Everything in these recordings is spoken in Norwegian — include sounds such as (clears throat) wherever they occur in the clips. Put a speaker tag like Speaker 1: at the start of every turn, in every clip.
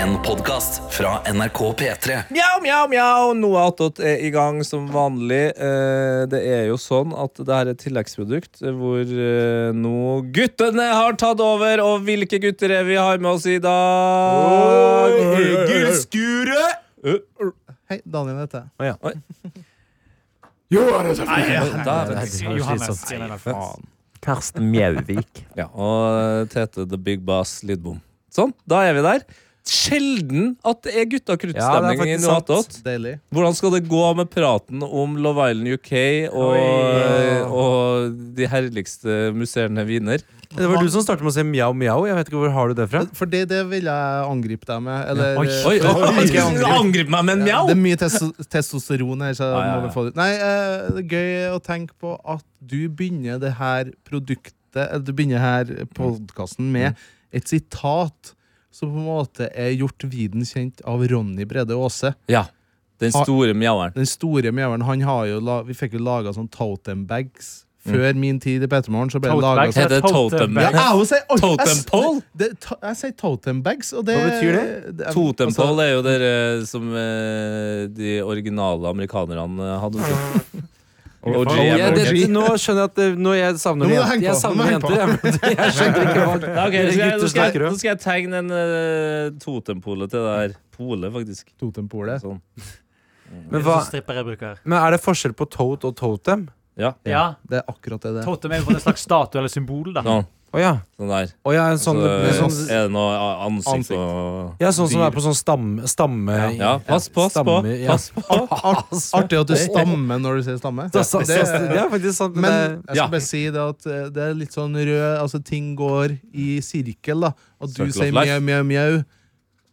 Speaker 1: En podcast fra NRK P3
Speaker 2: Mjau, mjau, mjau! Noe attåt er i gang som vanlig. Eh, Det er jo sånn at det her er et tilleggsprodukt eh, hvor eh, nå guttene har tatt over. Og hvilke gutter er vi har med oss i dag? Egil Skure!
Speaker 3: Hei, Daniel heter jeg.
Speaker 4: Johannes.
Speaker 5: Karsten Mjauvik.
Speaker 2: Ja, og Tete The Big Bass Lidbom. Sånn, da er vi der. Sjelden at det er gutta-krutt-stemning
Speaker 5: Ja, det
Speaker 2: i
Speaker 5: er faktisk
Speaker 2: noe attåt.
Speaker 3: Deilig.
Speaker 2: Hvordan skal det gå med praten om Love Island UK og, og de herligste musserende viner?
Speaker 4: Det var du som startet med å si mjau mjau. Jeg vet ikke hvor har du det fra?
Speaker 3: For det, det vil jeg angripe deg med. Eller,
Speaker 4: Oi.
Speaker 3: (laughs) eh,
Speaker 2: Oi,
Speaker 3: for-
Speaker 2: han (laughs)
Speaker 3: Ikke
Speaker 2: skulle
Speaker 3: angripe.
Speaker 2: angripe meg med en
Speaker 3: Det
Speaker 2: mjau!
Speaker 3: er mye testo testosteron her. Så jeg
Speaker 2: ja,
Speaker 3: må vel
Speaker 2: ja.
Speaker 3: få det. ut. Nei, eh, det er gøy å tenke på at du begynner det her produktet eller Du begynner her podkasten med et sitat som på en måte er gjort viden kjent av Ronny Brede Aase.
Speaker 2: Ja, den
Speaker 3: Har-
Speaker 2: store mjaueren.
Speaker 3: Den store mjøveren, han har jo la Vi fikk jo laga sånn totem bags før min tid i P3 Morgen. Så ble det laget sånn
Speaker 2: heter det totem
Speaker 3: Ja,
Speaker 2: bag.
Speaker 3: (laughs) jeg også sier- oi, jeg
Speaker 2: Totem
Speaker 3: s-
Speaker 2: pole?
Speaker 3: det- to- Jeg sier totem bags, og det
Speaker 4: Hva betyr det?
Speaker 3: er- altså,
Speaker 2: Totempål er jo dere som eh, de originale amerikanerne hadde. OG,
Speaker 3: faen.
Speaker 4: Ja,
Speaker 2: jeg
Speaker 4: det,
Speaker 2: vet ikke.
Speaker 4: nå skjønner jeg at det, nå jeg savner
Speaker 3: Nå må du
Speaker 4: jenter.
Speaker 3: henge på, nå
Speaker 4: Jeg
Speaker 3: må
Speaker 4: savner
Speaker 3: du
Speaker 4: jenter. Jeg, jeg skjønner ikke hva
Speaker 2: Ja, ok, nå skal jeg-
Speaker 4: gutter
Speaker 2: nå skal jeg-
Speaker 4: snakker
Speaker 2: nå
Speaker 4: om.
Speaker 2: skal jeg tegne en uh, totempole til det her. Pole, faktisk.
Speaker 3: altså, Totempolet.
Speaker 2: Sånn.
Speaker 4: Men, hva,
Speaker 6: Stripper jeg bruker.
Speaker 4: men er det forskjell på tote og totem?
Speaker 2: Ja.
Speaker 6: Ja.
Speaker 3: Det er akkurat det det er.
Speaker 6: Totem er jo bare en slags statue eller symbol, da.
Speaker 2: Sånn,
Speaker 4: Å ja.
Speaker 2: sånn der.
Speaker 4: Å ja,
Speaker 2: Så
Speaker 4: en
Speaker 2: eh,
Speaker 4: sånn, det blir sånn
Speaker 2: er det noe a- ansikt
Speaker 3: Ansikt.
Speaker 2: og
Speaker 4: ja, sånn som er på sånn stamme... stamme
Speaker 2: Ja, pass på, pass på.
Speaker 4: Stammer, ja.
Speaker 2: Pass på.
Speaker 3: Artig at du stammer når du sier stamme.
Speaker 4: (laughs) Det, er- det, er- det
Speaker 3: Det,
Speaker 4: er faktisk sant.
Speaker 3: men
Speaker 4: Men,
Speaker 3: jeg
Speaker 2: Ja.
Speaker 3: skal bare si det at eh, det er litt sånn rød Altså, ting går i sirkel, da. At
Speaker 2: Circle
Speaker 3: du
Speaker 2: of
Speaker 3: sier
Speaker 2: life.
Speaker 3: mjau, mjau, mjau.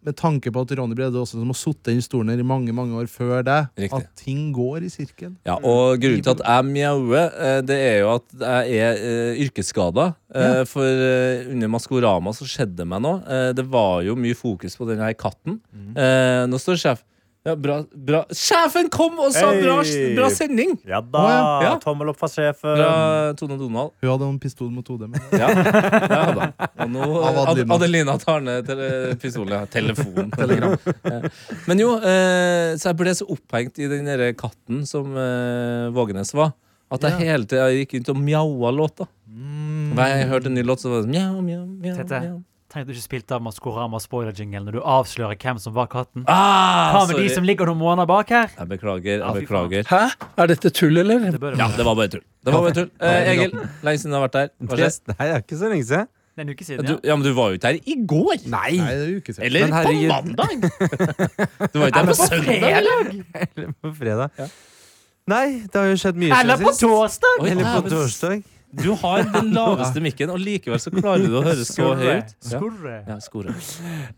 Speaker 3: Med tanke på at Ronny Brede også som har sittet i den stolen her i mange mange år før deg.
Speaker 2: Riktig.
Speaker 3: At ting går i sirkel.
Speaker 2: Ja, og grunnen til at jeg mjauer, eh, det er jo at jeg er eh, yrkesskada. Eh, For eh, under Maskorama så skjedde det meg noe. Eh, det var jo mye fokus på den her katten. Eh, nå står sjef ja, bra, bra. Sjefen kom og sa bra,
Speaker 7: Hei!
Speaker 2: bra sending!
Speaker 7: Ja da!
Speaker 3: Å,
Speaker 2: ja. Ja.
Speaker 7: Tommel opp fra sjefen.
Speaker 2: Fra Tone Donald.
Speaker 3: Hun hadde en pistol mot hodet. men-
Speaker 2: Ja, ja da. Og nå
Speaker 3: Av
Speaker 2: Ad
Speaker 3: Adelina.
Speaker 2: Adelina tar ned tele pistolen.
Speaker 5: (laughs)
Speaker 2: ja. Telefon. Telegram. Ja. Men jo, eh, så jeg ble så opphengt i den derre katten som eh, Vågenes var, at jeg hele tida gikk rundt og mjaua låta.
Speaker 5: Mm.
Speaker 2: Hver gang jeg hørte en ny låt, så var det sånn mjau, mjau, mjau.
Speaker 6: Tete.
Speaker 2: mjau.
Speaker 6: Tenk at du ikke spilte av Maskorama spoiler-jingle når du avslører hvem som var katten.
Speaker 2: Ah,
Speaker 6: Hva med
Speaker 2: sorry.
Speaker 6: de som ligger noen måneder bak her?
Speaker 2: Jeg beklager.
Speaker 6: Ja,
Speaker 2: jeg
Speaker 6: fy faen.
Speaker 2: beklager
Speaker 5: Hæ? Er dette tull, eller?
Speaker 6: Det bør det
Speaker 2: Ja,
Speaker 6: være.
Speaker 2: det var bare tull. Det var bare tull eh, Egil, lenge siden du har vært der. Hva
Speaker 4: det,
Speaker 2: skjer?
Speaker 4: (laughs) nei, det er ikke så lenge siden.
Speaker 6: Det er en uke
Speaker 2: Du,
Speaker 6: siden, ja.
Speaker 2: ja, men du var jo ikke her i går.
Speaker 4: Nei!
Speaker 3: Nei, det er jo ikke sikkert.
Speaker 2: Eller
Speaker 4: Men
Speaker 2: på
Speaker 4: herregud.
Speaker 2: (laughs) mandag. Du var ikke her på søndag.
Speaker 4: Eller på fredag. Nei, det har jo skjedd mye
Speaker 6: Eller på torsdag!
Speaker 2: Oi,
Speaker 4: Eller
Speaker 2: ja,
Speaker 4: på
Speaker 2: men-
Speaker 4: torsdag.
Speaker 2: Du har den laveste mikken, og likevel så klarer du å høre så høy ut.
Speaker 6: Skurre.
Speaker 2: Ja, skore.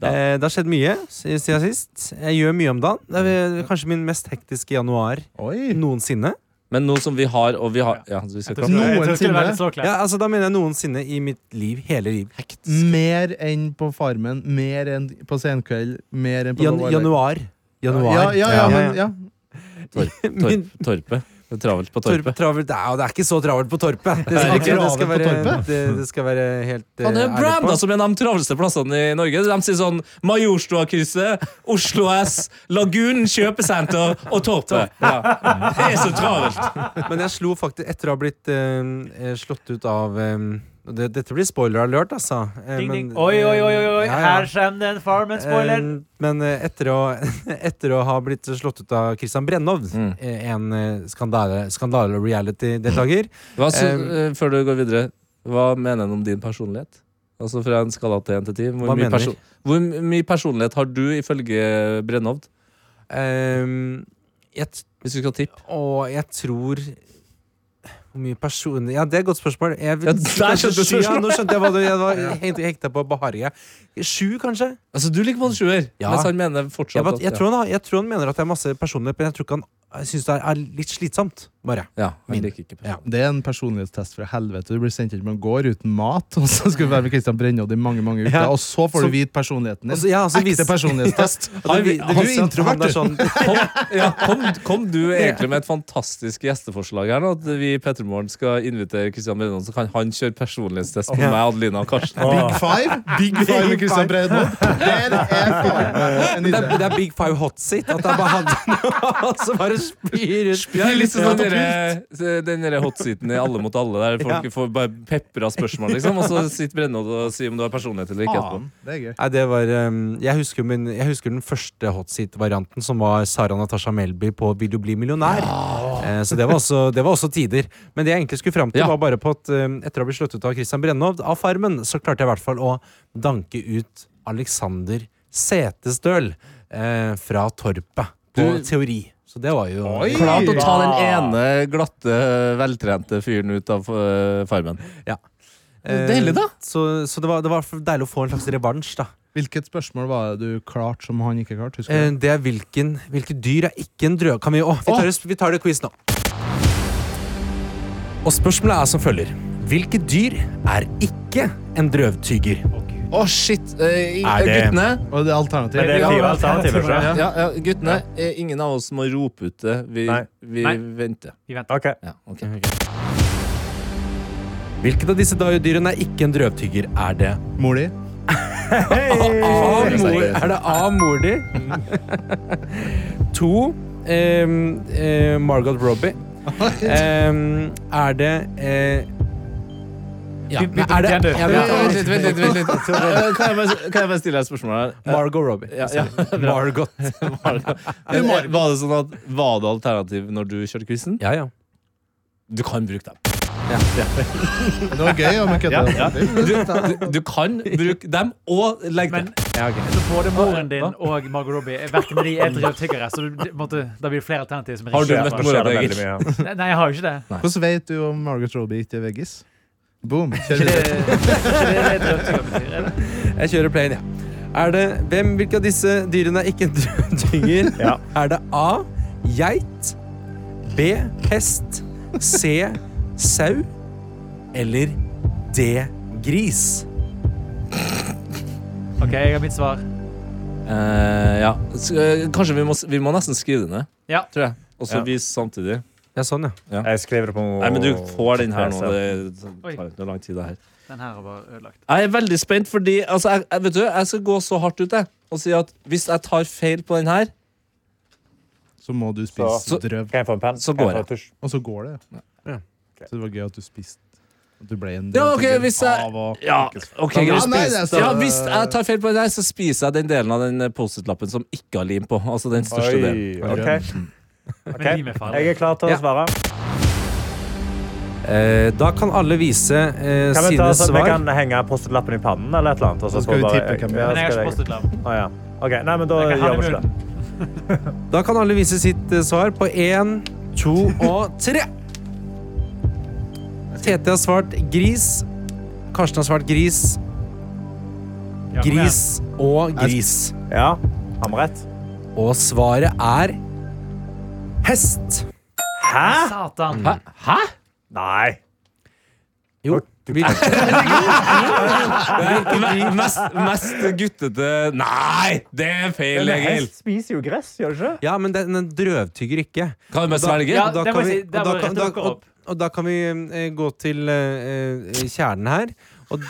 Speaker 2: Da.
Speaker 4: Eh, det har skjedd mye s- siden sist. Jeg gjør mye om dagen. Det er vel kanskje min mest hektiske januar
Speaker 3: Oi.
Speaker 4: noensinne.
Speaker 2: Men nå som vi har, og vi har ja, vi skal klappe.
Speaker 3: Noensinne.
Speaker 6: Jeg tror ikke det var litt så klart.
Speaker 4: Ja, altså Da mener jeg noensinne i mitt liv. Hele liv.
Speaker 3: Mer enn på Farmen, mer enn på Senkveld, mer enn på
Speaker 4: Jan
Speaker 3: Love Island.
Speaker 4: januar. Januar.
Speaker 3: Ja, ja, ja, men, ja.
Speaker 2: Torp,
Speaker 4: Min
Speaker 2: torpet. Det er travelt på
Speaker 4: torp,
Speaker 2: torpet.
Speaker 4: travelt det er, jo- det er ikke så travelt på Torpet. Det
Speaker 3: ikke
Speaker 4: skal, ikke, det skal,
Speaker 3: travelt på
Speaker 4: være,
Speaker 3: Torpet.
Speaker 4: det, det skal være helt eh,
Speaker 2: Han er
Speaker 4: ærlig
Speaker 2: branda
Speaker 4: på.
Speaker 6: altså.
Speaker 2: som en av de travleste plassene i Norge. De sier sånn Majorstuakrysset, Oslo S, Lagunen kjøpesenter og Torpet. Ja. Det er så travelt.
Speaker 4: Men jeg slo faktisk Etter å ha blitt eh, eh, slått ut av eh, og det, Dette blir spoiler alert, altså. Eh,
Speaker 6: Ding, ding.
Speaker 4: men- eh,
Speaker 6: Oi, oi, oi, oi, oi.
Speaker 4: Ja, ja.
Speaker 6: her kommer det en Farmen-spoiler.
Speaker 4: Eh, Men eh, etter å, (laughs) etter å ha blitt slått ut av Christian Brennov,
Speaker 2: Mm.
Speaker 4: eh, en eh, skandale, skandale- og reality-deltaker
Speaker 2: Hva, så,
Speaker 4: Eh,
Speaker 2: eh, før du går videre, hva mener han om din personlighet? Altså Fra en skala til 1 til 10. Hvor,
Speaker 4: Hva
Speaker 2: mye
Speaker 4: mener vi?
Speaker 2: perso- hvor mye personlighet har du ifølge Brennovd?
Speaker 4: eh, jeg, t-
Speaker 2: Hvis du skal tippe.
Speaker 4: Og jeg tror Hvor mye personlig Ja, det er et godt spørl. Jeg, vil-
Speaker 2: Ja, der skjønte du
Speaker 4: Sju, ja,
Speaker 2: spørsmålet.
Speaker 4: Nå skjønte jeg hva du Jeg var helt hekta på Baharia. Sju, kanskje?
Speaker 2: Altså, du liker på en sjuer,
Speaker 4: Ja.
Speaker 2: mens han mener fortsatt
Speaker 4: Jeg, bare- jeg,
Speaker 2: at
Speaker 4: tror han, har- jeg tror han mener at jeg har masse personlighet, men jeg tror ikke han jeg syns det er- er litt slitsomt, bare.
Speaker 2: Ja,
Speaker 4: Min.
Speaker 2: jeg liker ikke
Speaker 4: Ja.
Speaker 3: Det er en personlighetstest fra helvete. Du blir sendt hjem en gård uten mat, (laughs) og så skal du være med Kristian Brennod i mange mange uker,
Speaker 4: Ja.
Speaker 3: og så får du
Speaker 4: Så-
Speaker 3: vite personligheten din.
Speaker 4: Altså, ja, altså,
Speaker 3: Ekte
Speaker 4: vis- (laughs)
Speaker 3: personlighetstest.
Speaker 4: Og det, det,
Speaker 3: Han-
Speaker 4: det viser
Speaker 3: han-
Speaker 4: at han er sånn
Speaker 2: Kom, ja, kom, kom
Speaker 4: (laughs)
Speaker 2: du egentlig med et fantastisk gjesteforslag her nå? At vi i Pettermorgen skal invitere Kristian Brennan, så kan han kjøre personlighetstest på
Speaker 4: Ja.
Speaker 2: meg, Adelina og Karsten.
Speaker 3: Big five Big five med Kristian Brennod. Der er faen en
Speaker 4: (laughs) det er,
Speaker 3: idé.
Speaker 4: det er Big Five Hot Seat. At det er bare (laughs) han som bare spyr ut.
Speaker 2: (laughs) Det er litt sånn den derre- den derre hotseaten i Alle mot alle, der folk får bare pepra spørsmål, liksom. Og så sitter Brennod og sier om du har personlighet eller ikke. etterpå.
Speaker 3: Faen, det er gøy.
Speaker 4: Nei, det var um, jeg, husker min, jeg husker den første hot seat-varianten, som var Sara Natasha Melby på 'Vil du bli millionær'. Eh, så det var, også, det var også tider. Men det jeg egentlig skulle fram til,
Speaker 2: Ja.
Speaker 4: var bare på at um, etter å ha blitt sluttet av Christian Brennov av Farmen, så klarte jeg i hvert fall å danke ut Alexander Setesdøl eh, fra Torpet på teori. Så det var jo
Speaker 3: Oi!
Speaker 2: Klart å ta den ene glatte, veltrente fyren ut av eh, Farmen.
Speaker 4: Eh,
Speaker 2: Deilig, da.
Speaker 4: Så, så det, var, det var deilig å få en slags revansj, da.
Speaker 3: Hvilket spørsmål var det du klarte som han ikke klarte? Husker
Speaker 4: Eh,
Speaker 3: du?
Speaker 4: det er hvilken, hvilke dyr er ikke en drø... Kan vi, å, vi, tar, det- vi tar det quiz nå. Og spørsmålet er som følger. Hvilke dyr er ikke en drøvtyger?
Speaker 2: Å, shit! eh, i-
Speaker 4: Er det-
Speaker 2: Guttene,
Speaker 3: Og det er alternativ.
Speaker 7: Men det er fire alternativer, tror jeg.
Speaker 2: ja, ja, guttene eh, ingen av oss må rope ut det. Vi,
Speaker 7: Nei.
Speaker 2: vi
Speaker 6: Nei.
Speaker 2: venter.
Speaker 6: Vi venter.
Speaker 7: Ok.
Speaker 2: Ja, ok.
Speaker 4: Hvilket av disse da- dyrene er ikke en drøvtyger? Er det
Speaker 3: Mor di?
Speaker 4: A, mor,
Speaker 2: seriøst.
Speaker 4: er det A, mor
Speaker 2: (laughs)
Speaker 4: di? to eh, eh, Margot Robbie. Eh, er det eh, ja,
Speaker 6: Vi- vi-
Speaker 4: er det,
Speaker 6: vi- vi-
Speaker 4: ja,
Speaker 2: Vent
Speaker 4: vi-
Speaker 2: litt, vent litt, vent litt. Eh, Kan (laughs) jeg bare, kan jeg bare stille deg et spørsmål her? Eh,
Speaker 4: Margot Robbie.
Speaker 2: Ja, ja. (laughs)
Speaker 4: Margot.
Speaker 2: Eh, Var det sånn at Var det alternativ når du kjørte quizen?
Speaker 4: Ja, ja.
Speaker 2: Du kan bruke dem.
Speaker 3: Det var gøy om jeg kødder.
Speaker 2: Du, du, du kan bruke dem og legge
Speaker 6: Men
Speaker 2: dem.
Speaker 6: så både moren din og Margot Robbie er verken de er drøvtyggere, så du, det, måtte, det blir flere alternativer som er
Speaker 2: Har du
Speaker 6: riktige.
Speaker 2: møtt
Speaker 7: Nå skjer det
Speaker 2: mora
Speaker 7: veldig
Speaker 2: di?
Speaker 7: mye.
Speaker 6: Nei, Nei, jeg har jo ikke det.
Speaker 3: Hvordan vet du om Margaret Robbie ikke er veggis? Boom. Kjør
Speaker 6: Ikke det,
Speaker 3: videre.
Speaker 2: (laughs)
Speaker 6: ikke det, det drøvtygger betyr. er det?
Speaker 4: Jeg kjører playen, jeg. Er det hvem, Hvilke av disse dyrene er ikke (laughs) en drøvtynger?
Speaker 7: Ja.
Speaker 4: Er det A. Geit. B. Hest. C. Sau. Eller D. Gris.
Speaker 6: OK, jeg har mitt svar.
Speaker 2: Eh, ja. Så, eh, kanskje vi må, s- vi må nesten skrive det ned,
Speaker 6: Ja.
Speaker 2: tror jeg. Og så
Speaker 7: Ja.
Speaker 2: vise samtidig.
Speaker 4: Ja, sånn, ja.
Speaker 7: Jeg skriver det på
Speaker 2: Nei, men du får den her nå.
Speaker 7: PC.
Speaker 2: Det
Speaker 6: Oi.
Speaker 2: tar ikke lang tid, det her.
Speaker 6: Den her er bare ødelagt.
Speaker 2: Jeg er veldig spent, fordi altså, jeg, jeg, vet du, jeg skal gå så hardt ut jeg, og si at hvis jeg tar feil på den her,
Speaker 3: Så må du spise
Speaker 2: Så-
Speaker 3: drøv.
Speaker 7: Kan jeg få en penn?
Speaker 2: Så
Speaker 7: Kan
Speaker 2: går
Speaker 7: jeg. få en tusj?
Speaker 3: Og så går det.
Speaker 4: Ja.
Speaker 3: Så det var gøy at du spiste. At du ble en
Speaker 2: Ja, ok,
Speaker 3: drøvtygger
Speaker 2: hvis jeg-
Speaker 3: av å-
Speaker 2: Ja, ok, greit.
Speaker 3: Ja, nei, det er så-
Speaker 2: ja, Hvis jeg tar feil på den her, så spiser jeg den delen av den eh, Post-It-lappen som ikke har lim på. Altså den største delen.
Speaker 7: Oi, ok.
Speaker 6: Men
Speaker 7: Ok.
Speaker 6: de med farlig.
Speaker 7: Jeg er klar til
Speaker 4: Ja.
Speaker 7: å svare.
Speaker 4: Eh, da kan alle vise eh,
Speaker 7: Kan vi, ta,
Speaker 4: sine
Speaker 7: så, vi
Speaker 4: svar.
Speaker 7: kan henge Post-It-lappen i pannen eller et eller annet. og
Speaker 3: Så
Speaker 7: så
Speaker 3: skal
Speaker 7: får
Speaker 3: vi
Speaker 7: bare-
Speaker 3: tippe hvem det er.
Speaker 7: Ja,
Speaker 6: Men jeg har
Speaker 7: skal
Speaker 6: ikke
Speaker 7: jeg-
Speaker 6: postet lapp.
Speaker 7: Å, ja. Ok, nei, men da
Speaker 6: Jeg kan ha
Speaker 7: gjør vi
Speaker 6: det i
Speaker 7: ikke det.
Speaker 6: munnen.
Speaker 4: Da kan alle vise sitt eh, svar på én, to og tre. Tete har svart gris. Karsten har svart gris.
Speaker 6: Ja, kom igjen.
Speaker 4: Gris og gris.
Speaker 7: Ja, har vi rett?
Speaker 4: Og svaret er hest.
Speaker 7: Hæ?
Speaker 6: Satan.
Speaker 7: Nei.
Speaker 4: Jo. Hvilke,
Speaker 2: Me- Mest, mest guttete Nei, det er feil,
Speaker 7: Men
Speaker 2: Egil!
Speaker 7: hest spiser jo gress, gjør det ikke?
Speaker 4: (laughs) ja, men den, den drøvtygger ikke.
Speaker 2: Kan du bare
Speaker 4: Da-
Speaker 2: svelge?
Speaker 6: Ja,
Speaker 4: Og da
Speaker 6: det
Speaker 4: kan
Speaker 6: må jeg
Speaker 4: vi-
Speaker 6: si. Der
Speaker 4: og da
Speaker 6: må jeg
Speaker 4: kan-
Speaker 6: rette
Speaker 4: da-
Speaker 6: dere opp.
Speaker 4: Og da kan vi eh, gå til eh, eh, kjernen her. Og,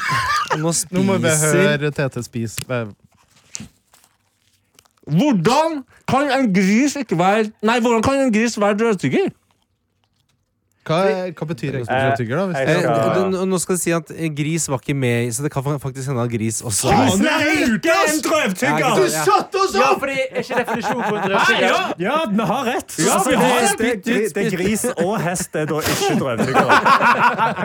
Speaker 4: og nå
Speaker 3: Nå må vi
Speaker 4: spiser
Speaker 3: høre Tete spise Hva-
Speaker 2: Hvordan kan en gris ikke være Nei, hvordan kan en gris være drøvtygger?
Speaker 3: Hva, hva betyr egentlig
Speaker 7: Eh,
Speaker 3: drøvtygger, da? Hvis
Speaker 7: jeg
Speaker 3: det
Speaker 4: Eh,
Speaker 3: er
Speaker 7: skal-
Speaker 4: d- d- Nå skal det si at eh, gris var ikke med, i- så det kan fa- faktisk hende at gris også
Speaker 3: Faen,
Speaker 4: er
Speaker 7: en drøvtygger!
Speaker 4: Ja, ikke sant, ja.
Speaker 6: Ja, for det er ikke definisjon på en drøvtygger.
Speaker 7: Ja, vi har rett!
Speaker 2: Ja,
Speaker 4: Altså,
Speaker 2: vi har rett.
Speaker 7: det, det, det er gris og hest er da ikke drøvtyggere.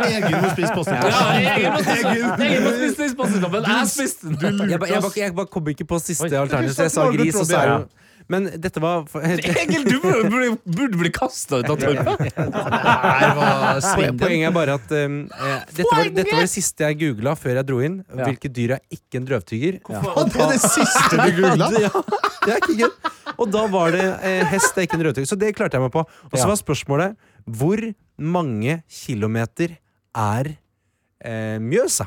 Speaker 3: Egen må spise
Speaker 2: Ja,
Speaker 3: posten.
Speaker 2: Egil må spise- Egil må spise den spiselappen. Jeg spiste den.
Speaker 4: Jeg, ba- jeg, ba- jeg bare kom ikke på siste
Speaker 2: Oi.
Speaker 4: alternativ, så jeg sa
Speaker 3: Margot
Speaker 4: gris. Og så er
Speaker 3: Robbie,
Speaker 4: jo, Men dette var
Speaker 2: Egil, du burde, burde, burde bli kasta ut av torpet!
Speaker 3: Her var
Speaker 4: Poenget er bare at um, eh, dette, var, dette var det siste jeg googla før jeg dro inn. Hvilke dyr er ikke en drøvtygger?
Speaker 3: Hva, det er det siste du googla?
Speaker 4: Ja, det er ikke gøy. Og da var det eh, hest er ikke en rødtygger. Så det klarte jeg meg på. Og så var spørsmålet hvor mange kilometer er eh, Mjøsa?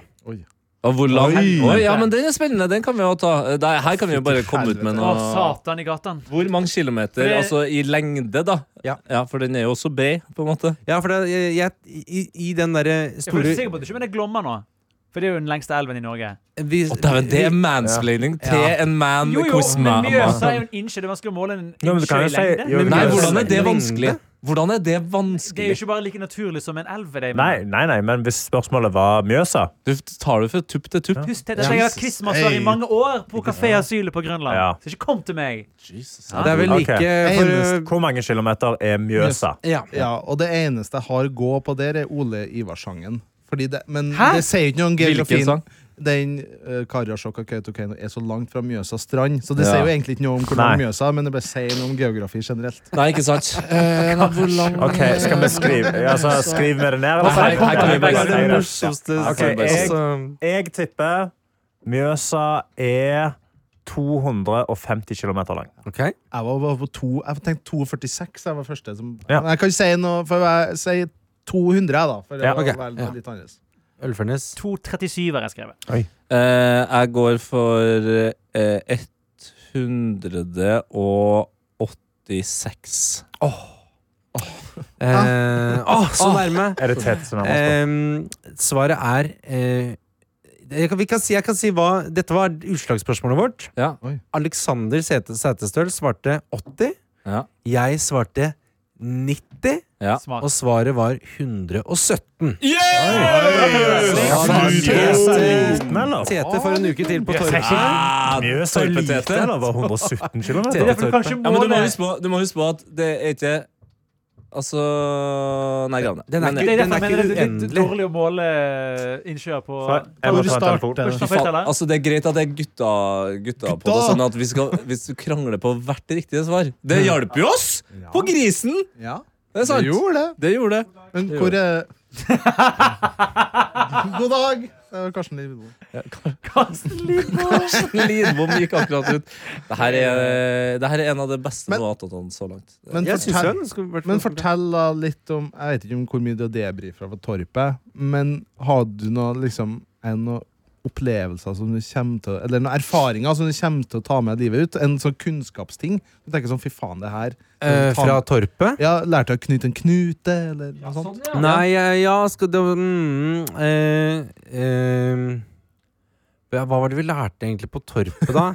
Speaker 2: Og hvor lang
Speaker 3: Oi.
Speaker 2: Oi, ja, men Den er spennende. Den kan vi jo ta. Eh, der- Her kan vi jo bare komme ut med
Speaker 6: Å,
Speaker 2: noe
Speaker 6: satan i gatan.
Speaker 2: Hvor mange kilometer?
Speaker 6: Det-
Speaker 2: Altså i lengde, da.
Speaker 4: Ja.
Speaker 2: For den er jo også bred, på en måte.
Speaker 4: Ja, for det, jeg, jeg, i, i den derre
Speaker 6: Jeg er faktisk
Speaker 4: store
Speaker 6: sikker på at du ikke mener Glomma nå. For det er jo den lengste elven i Norge.
Speaker 4: vi,
Speaker 2: Og dæven, det er mansplaining til
Speaker 4: Ja.
Speaker 2: en man
Speaker 6: Jo, jo,
Speaker 2: hos
Speaker 6: men
Speaker 2: meg.
Speaker 6: Mjøsa er jo en innsjø. Det er vanskelig å måle en
Speaker 7: Jo, men du
Speaker 6: innsjø
Speaker 7: kan jo
Speaker 6: i
Speaker 7: si-
Speaker 6: lengde.
Speaker 7: jo, men
Speaker 2: Nei,
Speaker 7: Mjøsa
Speaker 2: hvordan er det
Speaker 4: lengde?
Speaker 2: vanskelig? Hvordan er det
Speaker 6: Det er jo
Speaker 2: vanskelig?
Speaker 6: ikke bare like naturlig som en elv. Det,
Speaker 7: Nei, nei, nei, men hvis spørsmålet var Mjøsa
Speaker 2: Du tar det fra tupp til tupp.
Speaker 6: Husk til at jeg har hatt quizmaster i mange år på Kafé Asylet på Grønland.
Speaker 7: Ja.
Speaker 6: Så ikke kom til meg.
Speaker 4: Ja, Det er vel
Speaker 7: Ok.
Speaker 4: like for, uh,
Speaker 7: Hvor mange kilometer er Mjøsa?
Speaker 4: ja.
Speaker 3: Ja, og det eneste jeg har å gå på der, er Ole Ivarsangen. Fordi det, men
Speaker 6: Hæ?
Speaker 3: det sier ikke noe om
Speaker 2: Hvilken
Speaker 3: geografien.
Speaker 2: sang?
Speaker 3: Den uh, Karasjok og Kautokeino er så langt fra Mjøsa strand, så det
Speaker 2: Ja.
Speaker 3: sier jo egentlig ikke noe om hvor lang
Speaker 7: Nei.
Speaker 3: Mjøsa er, men det bare sier noe om geografi generelt.
Speaker 2: Nei, ikke sant? Eh, nei, hvor lang
Speaker 7: Ok, Skal vi skrive altså, Skriv med det ned, eller?
Speaker 2: Her- her kan vi bare
Speaker 4: Det er det
Speaker 2: skrive
Speaker 7: Jeg-
Speaker 4: morsomste
Speaker 7: Ok, jeg- Jeg tipper Mjøsa er 250 km lang.
Speaker 4: Ok.
Speaker 3: Jeg var, var på to, jeg tenkte 2,46 jeg var første som
Speaker 7: Ja.
Speaker 3: Men jeg kan ikke si noe, for jeg sier 200, jeg, da. For det
Speaker 7: Ja,
Speaker 3: var
Speaker 4: ok.
Speaker 3: vel,
Speaker 4: Ja.
Speaker 3: litt annerledes.
Speaker 4: Ølfernes.
Speaker 6: 237 har jeg skrevet.
Speaker 2: Eh, jeg går for eh, 186.
Speaker 4: Eh, åh, så nærme!
Speaker 7: Er det tett som er masse?
Speaker 4: Ehm, svaret er eh, jeg, kan, vi kan si, jeg kan si hva Dette var utslagsspørsmålet vårt.
Speaker 2: Ja.
Speaker 3: Oi.
Speaker 4: Alexander Sete- Setesdøl svarte 80.
Speaker 2: Ja.
Speaker 4: Jeg svarte 90.
Speaker 2: Ja.
Speaker 6: Smart.
Speaker 4: Og svaret var 117. Tete får en uke til på torget.
Speaker 2: Ah,
Speaker 7: Mjøsa er lite,
Speaker 2: torpetete.
Speaker 7: eller var
Speaker 6: Det
Speaker 7: 117
Speaker 6: er
Speaker 7: km?
Speaker 6: derfor du kanskje
Speaker 2: Ja, men du må,
Speaker 6: måler
Speaker 2: huske på, du må huske på at det er ikke Altså Nei, grann det.
Speaker 4: Den er
Speaker 2: Men-
Speaker 6: Det
Speaker 4: Den
Speaker 6: er derfor jeg
Speaker 4: ikke
Speaker 6: mener det er litt
Speaker 4: uendelig.
Speaker 6: dårlig å måle innsjøer på
Speaker 7: Jeg må ta en telefon.
Speaker 6: Først og
Speaker 2: Faen,
Speaker 6: fremst, eller?
Speaker 2: altså Det er greit at det er gutta, gutta på det.
Speaker 3: Gutta!
Speaker 2: Sånn at vi skal, Hvis du krangler på hvert riktige svar Det hjalp jo oss! På grisen!
Speaker 3: Ja,
Speaker 2: Det er sant.
Speaker 3: det gjorde det.
Speaker 2: Det gjorde det.
Speaker 3: Men hvor er (laughs) God dag! Det var Karsten Lidbom.
Speaker 6: Karsten
Speaker 2: (laughs)
Speaker 6: Lidbom.
Speaker 2: Lidbom gikk akkurat ut. Det her er, det her er en av de beste
Speaker 3: Men-
Speaker 2: noatatene så langt.
Speaker 3: Men
Speaker 4: Jeg synes
Speaker 3: fortell-
Speaker 4: den skulle vært-
Speaker 3: Men fortell da litt om Jeg vet ikke om hvor mye du har debrifa fra Torpet, men hadde du noe, liksom, er det noen opplevelser som du kommer til å- Eller noen erfaringer som du kommer til å ta med livet ut? En sånn kunnskapsting? Du tenker sånn, fy faen, det her
Speaker 4: Eh, fra sånn, Torpet.
Speaker 3: Ja, Lærte jeg å knyte en knute, eller noe sånt?
Speaker 4: Nei, eh, ja, skal det mm, eh, eh, ja, Hva var det vi lærte egentlig på Torpet, da?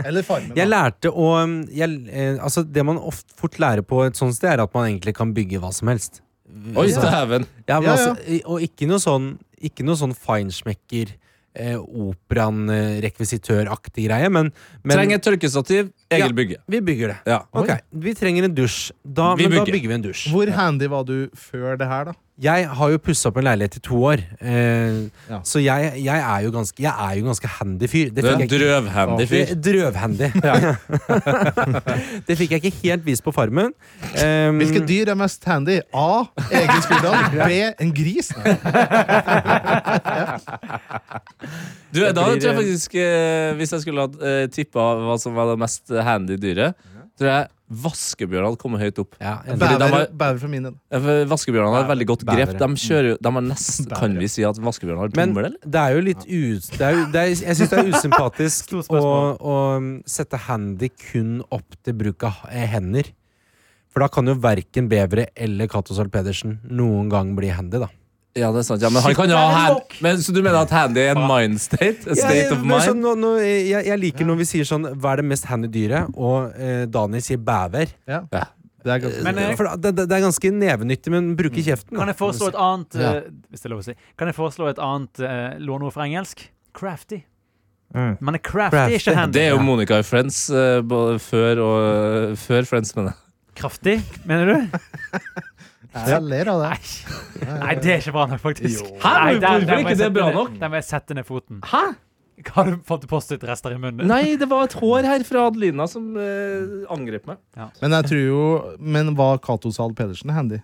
Speaker 3: Eller Farmen.
Speaker 4: Jeg
Speaker 3: da.
Speaker 4: lærte å mm, jeg, eh, Altså, det man ofte fort lærer på et sånt sted, er at man egentlig kan bygge hva som helst.
Speaker 2: Oi,
Speaker 4: Altså,
Speaker 2: dæven!
Speaker 4: ja, men
Speaker 3: Ja,
Speaker 4: altså, i- og ikke noe sånn Ikke noe sånn feinschmecker, eh, operaen, eh, rekvisitøraktig greie, men, men
Speaker 2: Trenger et tørkestativ.
Speaker 4: Ja.
Speaker 2: Egil Bygge.
Speaker 4: Vi bygger det.
Speaker 2: Ja.
Speaker 4: Ok, Vi trenger en dusj. Da,
Speaker 2: Vi
Speaker 4: men da
Speaker 2: bygger.
Speaker 4: bygger vi en dusj.
Speaker 3: Hvor handy var du før det her, da?
Speaker 4: Jeg har jo pussa opp en leilighet i to år, eh,
Speaker 3: Ja.
Speaker 4: så jeg, jeg, er jo ganske, jeg er jo ganske handy fyr. Det
Speaker 2: Du er
Speaker 4: fikk
Speaker 2: en
Speaker 4: jeg ikke-
Speaker 2: drøvhendig fyr.
Speaker 4: Det-
Speaker 2: (laughs)
Speaker 4: Drøvhandy. (laughs) det fikk jeg ikke helt vist på Farmen. Um,
Speaker 3: Hvilke dyr er mest handy? A. Egen
Speaker 4: (laughs)
Speaker 3: Skurdal. B. En gris.
Speaker 2: Du, da tror
Speaker 6: blir,
Speaker 2: jeg
Speaker 6: eh,
Speaker 2: faktisk eh, Hvis jeg skulle ha eh, tippa hva som var det mest handy dyret, tror jeg vaskebjørnene hadde kommet høyt opp.
Speaker 4: Ja, en-
Speaker 2: Fordi de
Speaker 3: Bæver,
Speaker 2: har-
Speaker 3: bæver for min del.
Speaker 2: Ja, for Vaskebjørnene har et veldig godt grep.
Speaker 4: Bævere.
Speaker 2: De kjører jo de har nesten, Kan vi si at vaskebjørnene har
Speaker 4: men
Speaker 2: tommel, eller?
Speaker 4: det er jo litt ut, det er, jo- det er, Jeg syns
Speaker 6: (laughs)
Speaker 4: det er usympatisk
Speaker 6: Stort
Speaker 4: å,
Speaker 6: spørsmål.
Speaker 4: å um, sette handy kun opp til bruk av eh, hender. For da kan jo verken bevere eller Cato Zahl Pedersen noen gang bli handy, da.
Speaker 2: Ja, det er sant. Ja, men han kan jo ha hand men, Så du mener at handy er en mind state? A
Speaker 4: Ja,
Speaker 2: state of
Speaker 4: men sånn,
Speaker 2: mind?
Speaker 4: nå, nå, jeg, jeg liker når vi sier sånn Hva er det mest handy dyret? Og eh, Daniel sier bever.
Speaker 3: Ja.
Speaker 2: Ja.
Speaker 3: Det er ganske
Speaker 6: Men, eh,
Speaker 4: For da- det, det er ganske nevenyttig, men bruker kjeften. da,
Speaker 6: Kan jeg
Speaker 4: kan du
Speaker 6: foreslå
Speaker 4: si.
Speaker 6: et annet eh, Hvis det er lov å si. Kan jeg foreslå et annet eh, låneord fra engelsk? Crafty.
Speaker 7: Mm.
Speaker 6: Men crafty er
Speaker 4: Crafty.
Speaker 6: ikke handy.
Speaker 2: Det er jo Monica i Friends eh, både før, og, eh, før Friends, mener jeg.
Speaker 6: Kraftig, mener du?
Speaker 3: Jeg ler av det.
Speaker 6: Nei. Nei, det er ikke bra nok, faktisk.
Speaker 2: Hæ?
Speaker 6: Nei, der-
Speaker 2: Hvorfor
Speaker 6: der må
Speaker 2: ikke
Speaker 6: jeg
Speaker 2: det
Speaker 6: sette
Speaker 2: bra
Speaker 6: ned-
Speaker 2: nok?
Speaker 6: Der må jeg sette ned foten. Hva har du fått Post-It-rester i munnen?
Speaker 2: Nei, det var et hår her fra Adelina som eh, angrep meg.
Speaker 3: Men jeg tror jo Men var Cato Zahl Pedersen handy?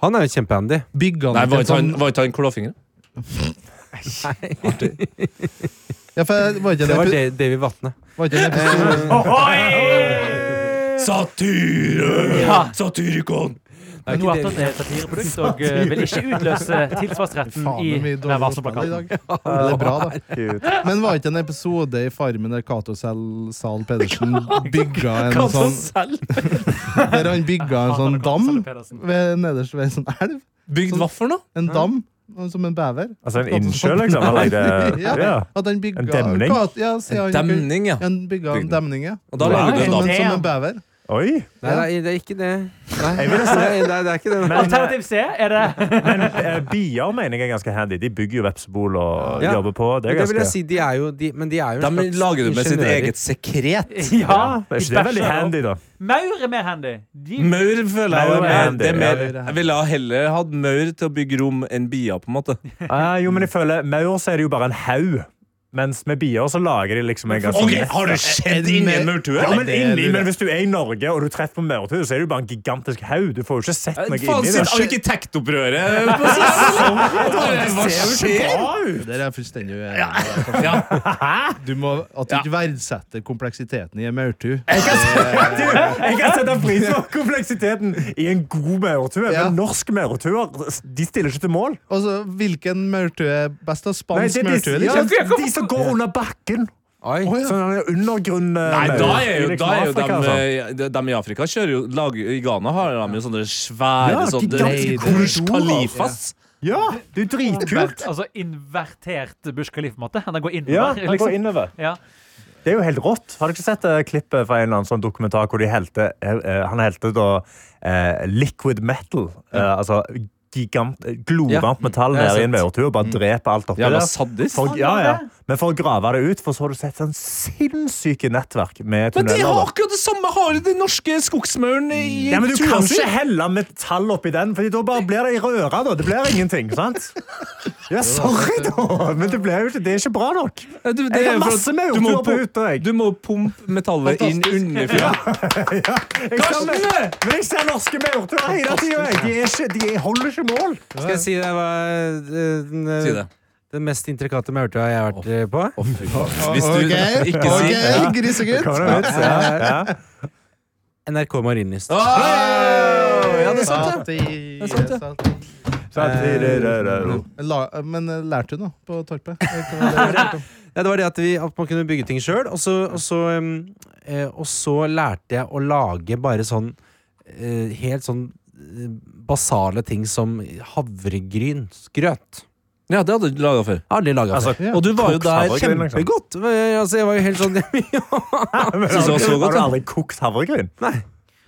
Speaker 4: Han er jo kjempehandy.
Speaker 3: Bygga han ikke en sånn-
Speaker 2: ikke han klåfingre?
Speaker 3: sånn- Ja, for jeg- var ikke
Speaker 4: Det var
Speaker 3: det,
Speaker 4: Da- David Vatne.
Speaker 3: var ikke det Eh, episode
Speaker 6: Eh,
Speaker 1: Satire!
Speaker 6: Ja.
Speaker 1: Satyrikon!
Speaker 4: Det er
Speaker 6: Nå
Speaker 4: ikke
Speaker 6: er
Speaker 4: David-
Speaker 6: det et satirprodukt og eh, vil ikke utløse tilsvarsretten
Speaker 3: Faen,
Speaker 6: i
Speaker 3: det er mye dårlig
Speaker 6: denne
Speaker 3: fotball i
Speaker 6: varselplakaten.
Speaker 3: dag. Men Det er bra, da. Men var ikke en episode i Farmen der Cato Zahl Zahl (laughs) Pedersen bygga en sånn Der han bygga en sånn dam ved, nederst ved en sånn elv.
Speaker 2: Bygd hva for noe?
Speaker 3: En dam som en bever.
Speaker 7: Altså en innsjø, liksom? Han lagde
Speaker 3: (laughs) Ja.
Speaker 7: ja.
Speaker 3: At han bygga
Speaker 7: En demning?
Speaker 3: Kat- Ja, sier han,
Speaker 2: Demning, ja.
Speaker 3: Han bygga en
Speaker 2: Bygning.
Speaker 3: demning, ja.
Speaker 2: Og da lagde du en
Speaker 3: Som
Speaker 2: dam.
Speaker 3: en, som en bever.
Speaker 7: Oi!
Speaker 4: Nei, nei, det er ikke det. Nei,
Speaker 7: Jeg ville si-
Speaker 4: nei, nei, det er ikke det.
Speaker 7: Men, eh,
Speaker 6: Alternativ C er det
Speaker 7: men eh, bier mener jeg er ganske handy. De bygger jo vepsebol og
Speaker 4: Ja.
Speaker 7: jobber på. Det
Speaker 4: Men
Speaker 7: er
Speaker 4: det vil
Speaker 7: ganske
Speaker 4: jeg si, de er jo de, Men de er jo en
Speaker 2: De
Speaker 4: slags
Speaker 2: lager du med sitt
Speaker 4: ingeniører.
Speaker 2: eget sekret.
Speaker 6: Ja.
Speaker 7: Det er ikke det veldig handy, da.
Speaker 6: Maur er mer handy. De,
Speaker 2: Maur føler jeg
Speaker 7: Maur
Speaker 2: er
Speaker 7: er
Speaker 2: mer-
Speaker 7: handy,
Speaker 2: det er
Speaker 7: ja.
Speaker 2: mer Jeg ville ha heller hatt maur til å bygge rom enn bia, på en måte.
Speaker 7: Ah, jo, men jeg føler maur så er det jo bare en haug. Mens med bier så lager de liksom en ganske
Speaker 1: har du sett inni en maurtue?
Speaker 7: Ja, men,
Speaker 3: det er
Speaker 7: inni,
Speaker 3: lurt.
Speaker 7: men hvis du er i Norge og du treffer på maurtue, så er det jo bare en gigantisk haug. Du får jo ikke sett noe
Speaker 2: Faen,
Speaker 7: inni det.
Speaker 2: sitt (laughs) arkitektopprøret på siden! Bare, Hva skjer?
Speaker 3: Det der er jeg fullstendig uenig (laughs) i.
Speaker 2: Ja.
Speaker 3: Du må At du ikke verdsetter kompleksiteten i en maurtue.
Speaker 7: Du, jeg kan sette pris på kompleksiteten i en god maurtue,
Speaker 3: Ja.
Speaker 7: men norsk maurtue de stiller ikke til mål.
Speaker 3: Altså, hvilken maurtue er best? av
Speaker 7: Nei,
Speaker 3: Spansk
Speaker 7: det er
Speaker 3: maurtue?
Speaker 7: de, ja,
Speaker 3: Liksom.
Speaker 7: de som går under bakken.
Speaker 4: Oi.
Speaker 7: Sånn en undergrunn eh,
Speaker 2: Nei, da
Speaker 7: maur
Speaker 2: er jo,
Speaker 7: i liksom
Speaker 2: da er jo
Speaker 7: Afrika,
Speaker 2: dem,
Speaker 7: altså.
Speaker 2: eh, de, dem i Afrika kjører jo lag, I Ghana har de jo sånne svære
Speaker 7: Ja,
Speaker 2: sånne
Speaker 7: gigantiske
Speaker 2: Burj
Speaker 7: korridorer.
Speaker 2: Khalifas.
Speaker 7: Ja, det er jo dritkult.
Speaker 6: altså invertert Bush Khalifa-måte. Han går
Speaker 7: Ja,
Speaker 6: innover.
Speaker 7: han går innover.
Speaker 6: Ja.
Speaker 7: Det er jo helt rått. Har du ikke sett eh, klippet fra en eller annen sånn dokumentar hvor de helte, eh, eh, han helte da eh, liquid metal, eh, altså gigant, eh,
Speaker 4: Ja.
Speaker 7: glorvarmt metall
Speaker 4: Det har jeg
Speaker 7: ned i en
Speaker 4: sett.
Speaker 7: maurtue og
Speaker 2: Mm.
Speaker 7: bare dreper alt oppi
Speaker 2: Jævla
Speaker 7: der.
Speaker 2: sadist.
Speaker 7: For, ja, ja. Men for å grave det ut, for så har du sett sånn sinnssyke nettverk med
Speaker 2: Men de
Speaker 7: tunneler.
Speaker 2: har
Speaker 7: da.
Speaker 2: akkurat det samme har den norske skogsmauren i
Speaker 7: Ja, men Du
Speaker 2: tua
Speaker 7: kan
Speaker 2: si.
Speaker 7: ikke helle metall oppi den, Fordi da bare blir det i røra. da. Det blir ingenting. sant? Ja, Sorry, da! Men det, blir jo ikke, det er ikke bra nok.
Speaker 2: Ja, Du, det
Speaker 7: Jeg
Speaker 2: er
Speaker 7: har
Speaker 2: for at
Speaker 7: masse
Speaker 2: du må
Speaker 7: maurtuer på
Speaker 2: pump-
Speaker 7: hytta. jeg.
Speaker 2: Du må pumpe metallet inn under fjøla.
Speaker 7: Jeg ser, men jeg ser norske maurtuer hele tida. De, er ikke- de holder ikke mål.
Speaker 4: Skal jeg si det var eh, den, eh,
Speaker 2: Si det.
Speaker 4: den mest intrikate maurtua jeg har vært eh, på?
Speaker 2: Hvis du
Speaker 3: Ok,
Speaker 2: ikke sier
Speaker 3: ok, grisegutt.
Speaker 7: Hva er det vits? Ja, ja.
Speaker 4: NRK Marienlyst.
Speaker 2: Ja, det er sant,
Speaker 3: Sati, det er sant.
Speaker 7: Samtidig-
Speaker 3: La- Men eh, lærte du noe på Torpet? Hva var det du lærte om?
Speaker 4: Ja, det var det at, vi, at man kunne bygge ting sjøl. Og, så- og, så, um, eh, og så lærte jeg å lage bare sånn eh, helt sånn eh, basale ting som havregrynsgrøt.
Speaker 2: Ja, det hadde du laga før.
Speaker 4: Jeg har Aldri laga
Speaker 7: Altså,
Speaker 4: før.
Speaker 2: Og du var jo
Speaker 7: Kokt
Speaker 2: der
Speaker 7: havregryn, liksom.
Speaker 4: Godt! Eh, Altså, jeg var jo helt sånn (laughs)
Speaker 7: (laughs) Men
Speaker 2: Synes det var så
Speaker 7: Har
Speaker 2: godt,
Speaker 7: du
Speaker 2: ja.
Speaker 7: aldri kokt havregryn?
Speaker 4: Nei.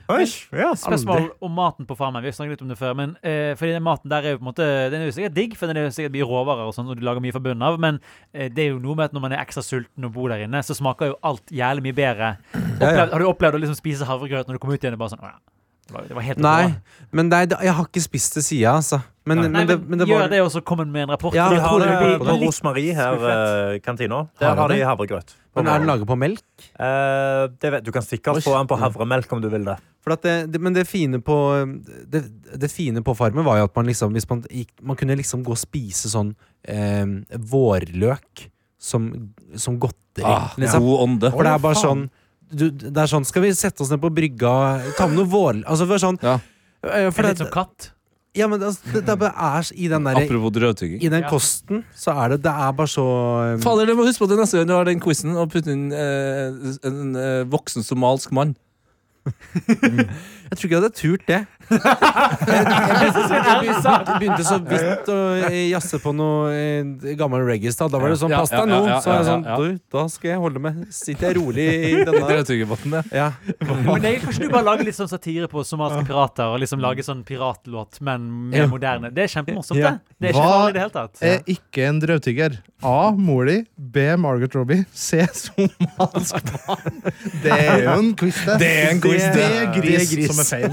Speaker 7: Oi, ja.
Speaker 6: Spørsmål om maten på farmen. Vi har snakket litt om det før. Men, eh, fordi den maten der er jo på en måte Den er jo sikkert digg, for den er jo sikkert mye råvarer og sånn, og du lager mye fra bunnen av, men eh, det er jo noe med at når man er ekstra sulten og bor der inne, så smaker jo alt jævlig mye bedre. Opplevd, har du opplevd å liksom spise havregrøt når du kommer ut igjen? Det er bare sånn, «Å ja, det var- det var helt
Speaker 4: Nei,
Speaker 6: bra».
Speaker 4: men nei, det- jeg har ikke spist til sida, altså. Men,
Speaker 6: Nei,
Speaker 4: men, det, men det var
Speaker 6: Gjør det, og så kom han med en rapport.
Speaker 4: Ja,
Speaker 6: for
Speaker 7: De
Speaker 6: da
Speaker 7: har
Speaker 6: tror jeg
Speaker 7: det
Speaker 6: det blir
Speaker 7: på
Speaker 6: litt-
Speaker 7: Rosmarie her, eh, kantina.
Speaker 4: Har
Speaker 7: Der har
Speaker 4: de
Speaker 7: de
Speaker 4: det?
Speaker 7: havregrøt.
Speaker 4: Men er den laga på melk?
Speaker 7: Eh, det vet, du kan sikkert få den på havremelk om du vil det.
Speaker 4: For at det, det, men det fine på det, det fine på Farmen var jo at man liksom hvis man, gikk, man kunne liksom gå og spise sånn eh, vårløk som, som godteri.
Speaker 2: Ah,
Speaker 4: liksom.
Speaker 2: god ånde.
Speaker 4: For det er bare sånn du, Det er sånn Skal vi sette oss ned på brygga, ta med noe vår... Altså, det var sånn
Speaker 2: Ja.
Speaker 4: eh,
Speaker 6: det
Speaker 4: for
Speaker 6: er
Speaker 4: det,
Speaker 6: litt som katt.
Speaker 4: ja, men altså, det, det bare er i den derre
Speaker 2: Apropos drøvtygging.
Speaker 4: I den
Speaker 6: Ja.
Speaker 4: kosten så er det Det er bare så eh,
Speaker 2: Fader, du må huske på det neste gang du har den quizen, og putte inn eh, en eh, voksen somalisk mann.
Speaker 4: Jeg tror ikke jeg hadde turt det. Jeg
Speaker 2: altså.
Speaker 4: begynte, begynte så vidt å eh, jazze på noe eh, gammel reggae-stad. Da var det sånn
Speaker 2: Ja,
Speaker 4: Pass
Speaker 2: ja,
Speaker 4: deg nå!
Speaker 2: ja, ja,
Speaker 4: Så er jeg
Speaker 2: ja,
Speaker 4: sånn
Speaker 2: ja.
Speaker 4: Du, da skal jeg holde meg. Sitter jeg rolig i denne
Speaker 2: Drøvtyggerbåten, det.
Speaker 4: ja.
Speaker 6: (laughs) Men det er, kanskje du bare lager litt sånn satire på somaliske pirater, og liksom lager sånn piratlåt, men
Speaker 4: Ja.
Speaker 6: mer moderne. Det er kjempemorsomt,
Speaker 4: Ja.
Speaker 6: det. Det er
Speaker 3: Hva
Speaker 6: ikke farlig i det hele tatt.
Speaker 3: Er ikke en drøvtygger. A. Mor di. B. Margaret Robbie. C. Somalisk barn. Det er jo en quiz, det.
Speaker 2: Det er en quiz,
Speaker 3: Det er
Speaker 2: det.
Speaker 3: gris,
Speaker 4: Det er gris.
Speaker 3: som er (laughs) feil.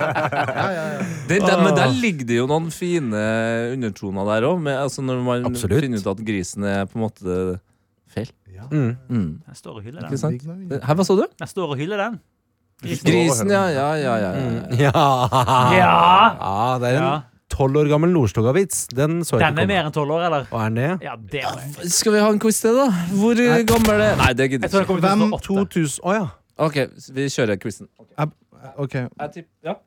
Speaker 2: Det, det, men der ligger det jo noen fine undertoner der òg, altså når man
Speaker 4: Absolutt.
Speaker 2: finner ut at grisen er på en måte feil.
Speaker 4: Mm.
Speaker 2: Mm.
Speaker 6: Jeg står og hyller
Speaker 2: Ikke
Speaker 6: den.
Speaker 2: sant? Hæ, hva sa du?
Speaker 6: Jeg står og hyller den.
Speaker 2: Grisen, ja, ja, ja. ja, ja.
Speaker 4: Ja.
Speaker 6: Ja!
Speaker 4: Ja, det er
Speaker 6: ja.
Speaker 4: en tolv år gammel Nordstoga-vits. Den så jeg ikke
Speaker 6: Den er
Speaker 4: komme.
Speaker 6: mer enn tolv år, eller?
Speaker 4: Og er den det?
Speaker 6: Ja, det må jeg.
Speaker 2: Skal vi ha en quiz til, da? Hvor eh, gammel er Nei, det gidder
Speaker 6: Jeg tror
Speaker 2: jeg
Speaker 6: den
Speaker 2: ikke.
Speaker 6: kommer til å stå åtte.
Speaker 4: 2000 Å ja.
Speaker 2: Ok, vi kjører quizen.
Speaker 3: Ok,
Speaker 2: Jeg tipp, ja.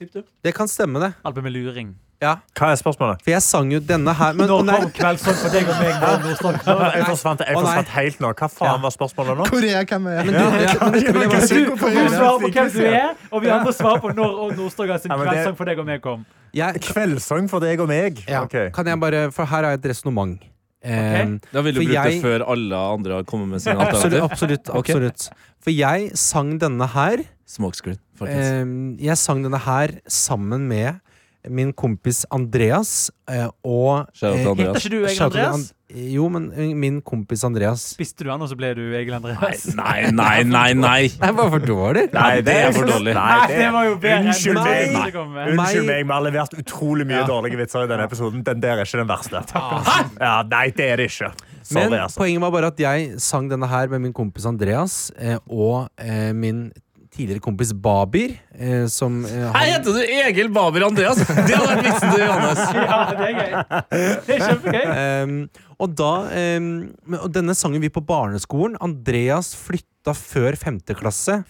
Speaker 2: Tipp du.
Speaker 4: Det kan stemme, det.
Speaker 6: Album med luring.
Speaker 7: Hva er spørsmålet?
Speaker 4: For jeg sang jo denne her. Men, å
Speaker 6: Når
Speaker 4: nei.
Speaker 6: kom kveldsånd for deg og meg? Bård Nordstoga?
Speaker 7: Jeg forsvant, jeg
Speaker 4: Å, nei.
Speaker 7: forsvant helt nå. Hva faen var spørsmålet nå?
Speaker 3: Hvor er jeg? Hvem er jeg?
Speaker 6: Du du svarer på hvem du er, og vi andre svarer på når Odd Nordstoga sin
Speaker 7: Ja, men det-
Speaker 6: kveldsånd for deg og meg kom.
Speaker 4: Jeg,
Speaker 7: Kveldssang for deg og meg.
Speaker 4: ja.
Speaker 7: Ok.
Speaker 4: Kan jeg bare For her er et resonnement. Ehm,
Speaker 6: Ok.
Speaker 2: Da vil du
Speaker 4: For
Speaker 2: bruke det
Speaker 4: jeg-
Speaker 2: før alle andre har kommet med sine
Speaker 4: absolutt,
Speaker 2: alternativ.
Speaker 4: absolutt,
Speaker 2: Ok.
Speaker 4: absolutt. For jeg sang denne her
Speaker 2: Smokescreen, folkens.
Speaker 4: eh, Jeg sang denne her sammen med min kompis Andreas eh, og
Speaker 2: Shout out til
Speaker 6: Heter
Speaker 2: Andreas.
Speaker 6: ikke du Egil
Speaker 4: Shout out til
Speaker 6: Andreas?
Speaker 4: An- Jo, men eh, min kompis Andreas.
Speaker 6: Spiste du han, og så ble du Egil Andreas?
Speaker 2: Nei, nei, nei, nei!
Speaker 4: Jeg var for dårlig.
Speaker 2: Nei, det er for dårlig.
Speaker 7: Nei, det,
Speaker 6: det var jo bedre enn
Speaker 7: Unnskyld
Speaker 6: det
Speaker 7: meg.
Speaker 6: Nordstoga kom med.
Speaker 4: Meg-
Speaker 7: Unnskyld meg, vi har levert utrolig mye dårlige vitser i denne episoden. Den der er ikke den verste. Hæ? Ja, nei, det er det ikke.
Speaker 4: Men
Speaker 7: Sorry, altså.
Speaker 4: poenget var bare at jeg sang denne her med min kompis Andreas eh, og eh, min tidligere kompis Babir, eh, som eh,
Speaker 2: Her heter du Egil Baber Andreas! Det hadde vært vitsen til Johannes.
Speaker 6: Ja, det er gøy. Det er kjempegøy.
Speaker 4: Ehm, og da ehm, men- Og denne sangen vi på barneskolen. Andreas flytta før femte klasse.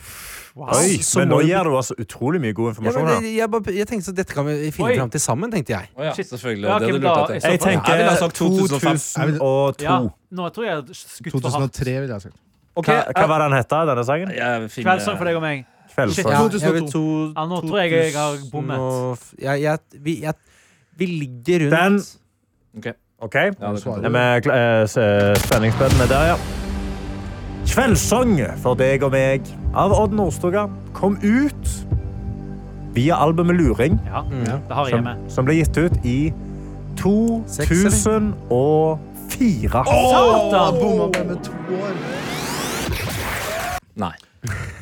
Speaker 7: Oi,
Speaker 4: Så
Speaker 7: men
Speaker 4: må
Speaker 7: nå
Speaker 4: du-
Speaker 7: gir du altså utrolig mye god
Speaker 4: Ja,
Speaker 7: informasjon.
Speaker 4: men,
Speaker 7: her.
Speaker 4: jeg, jeg, bare- jeg tenkte så dette kan vi finne
Speaker 6: Oi.
Speaker 4: fram til sammen, tenkte jeg.
Speaker 2: Å ja,
Speaker 6: Shit.
Speaker 2: selvfølgelig.
Speaker 6: Ja,
Speaker 2: Det hadde
Speaker 6: ok,
Speaker 2: du lurt
Speaker 6: da-
Speaker 2: etter.
Speaker 7: Jeg tenker
Speaker 2: ville ha sagt 2005.
Speaker 7: 2002.
Speaker 6: Ja, nå tror jeg jeg har skutt for hardt.
Speaker 3: 2003, vil jeg ha sagt.
Speaker 7: Hva, hva var den heta, denne sangen?
Speaker 2: Jeg finner-
Speaker 6: Kveldssang for deg og meg.
Speaker 7: Kveldssang.
Speaker 4: Ja,
Speaker 3: 2002.
Speaker 4: jeg vil to-
Speaker 6: Ja, nå tror jeg jeg har bommet.
Speaker 4: 2000 og- Jeg, jeg, vi, jeg, vi ligger rundt
Speaker 7: Den-
Speaker 2: Ok.
Speaker 7: OK?
Speaker 2: Ja, det kan
Speaker 3: Svarer
Speaker 2: du.
Speaker 7: Er vi kla- eh, s- eh, spenningsbønnen er der, ja. Kveldssang for deg og meg av Odd Nordstoga kom ut via albumet Luring,
Speaker 6: Ja,
Speaker 4: Mm.
Speaker 6: det har jeg
Speaker 7: som,
Speaker 6: hjemme.
Speaker 7: som ble gitt ut i 2004.
Speaker 6: Satan!
Speaker 3: Bomma på med to år.
Speaker 2: Nei.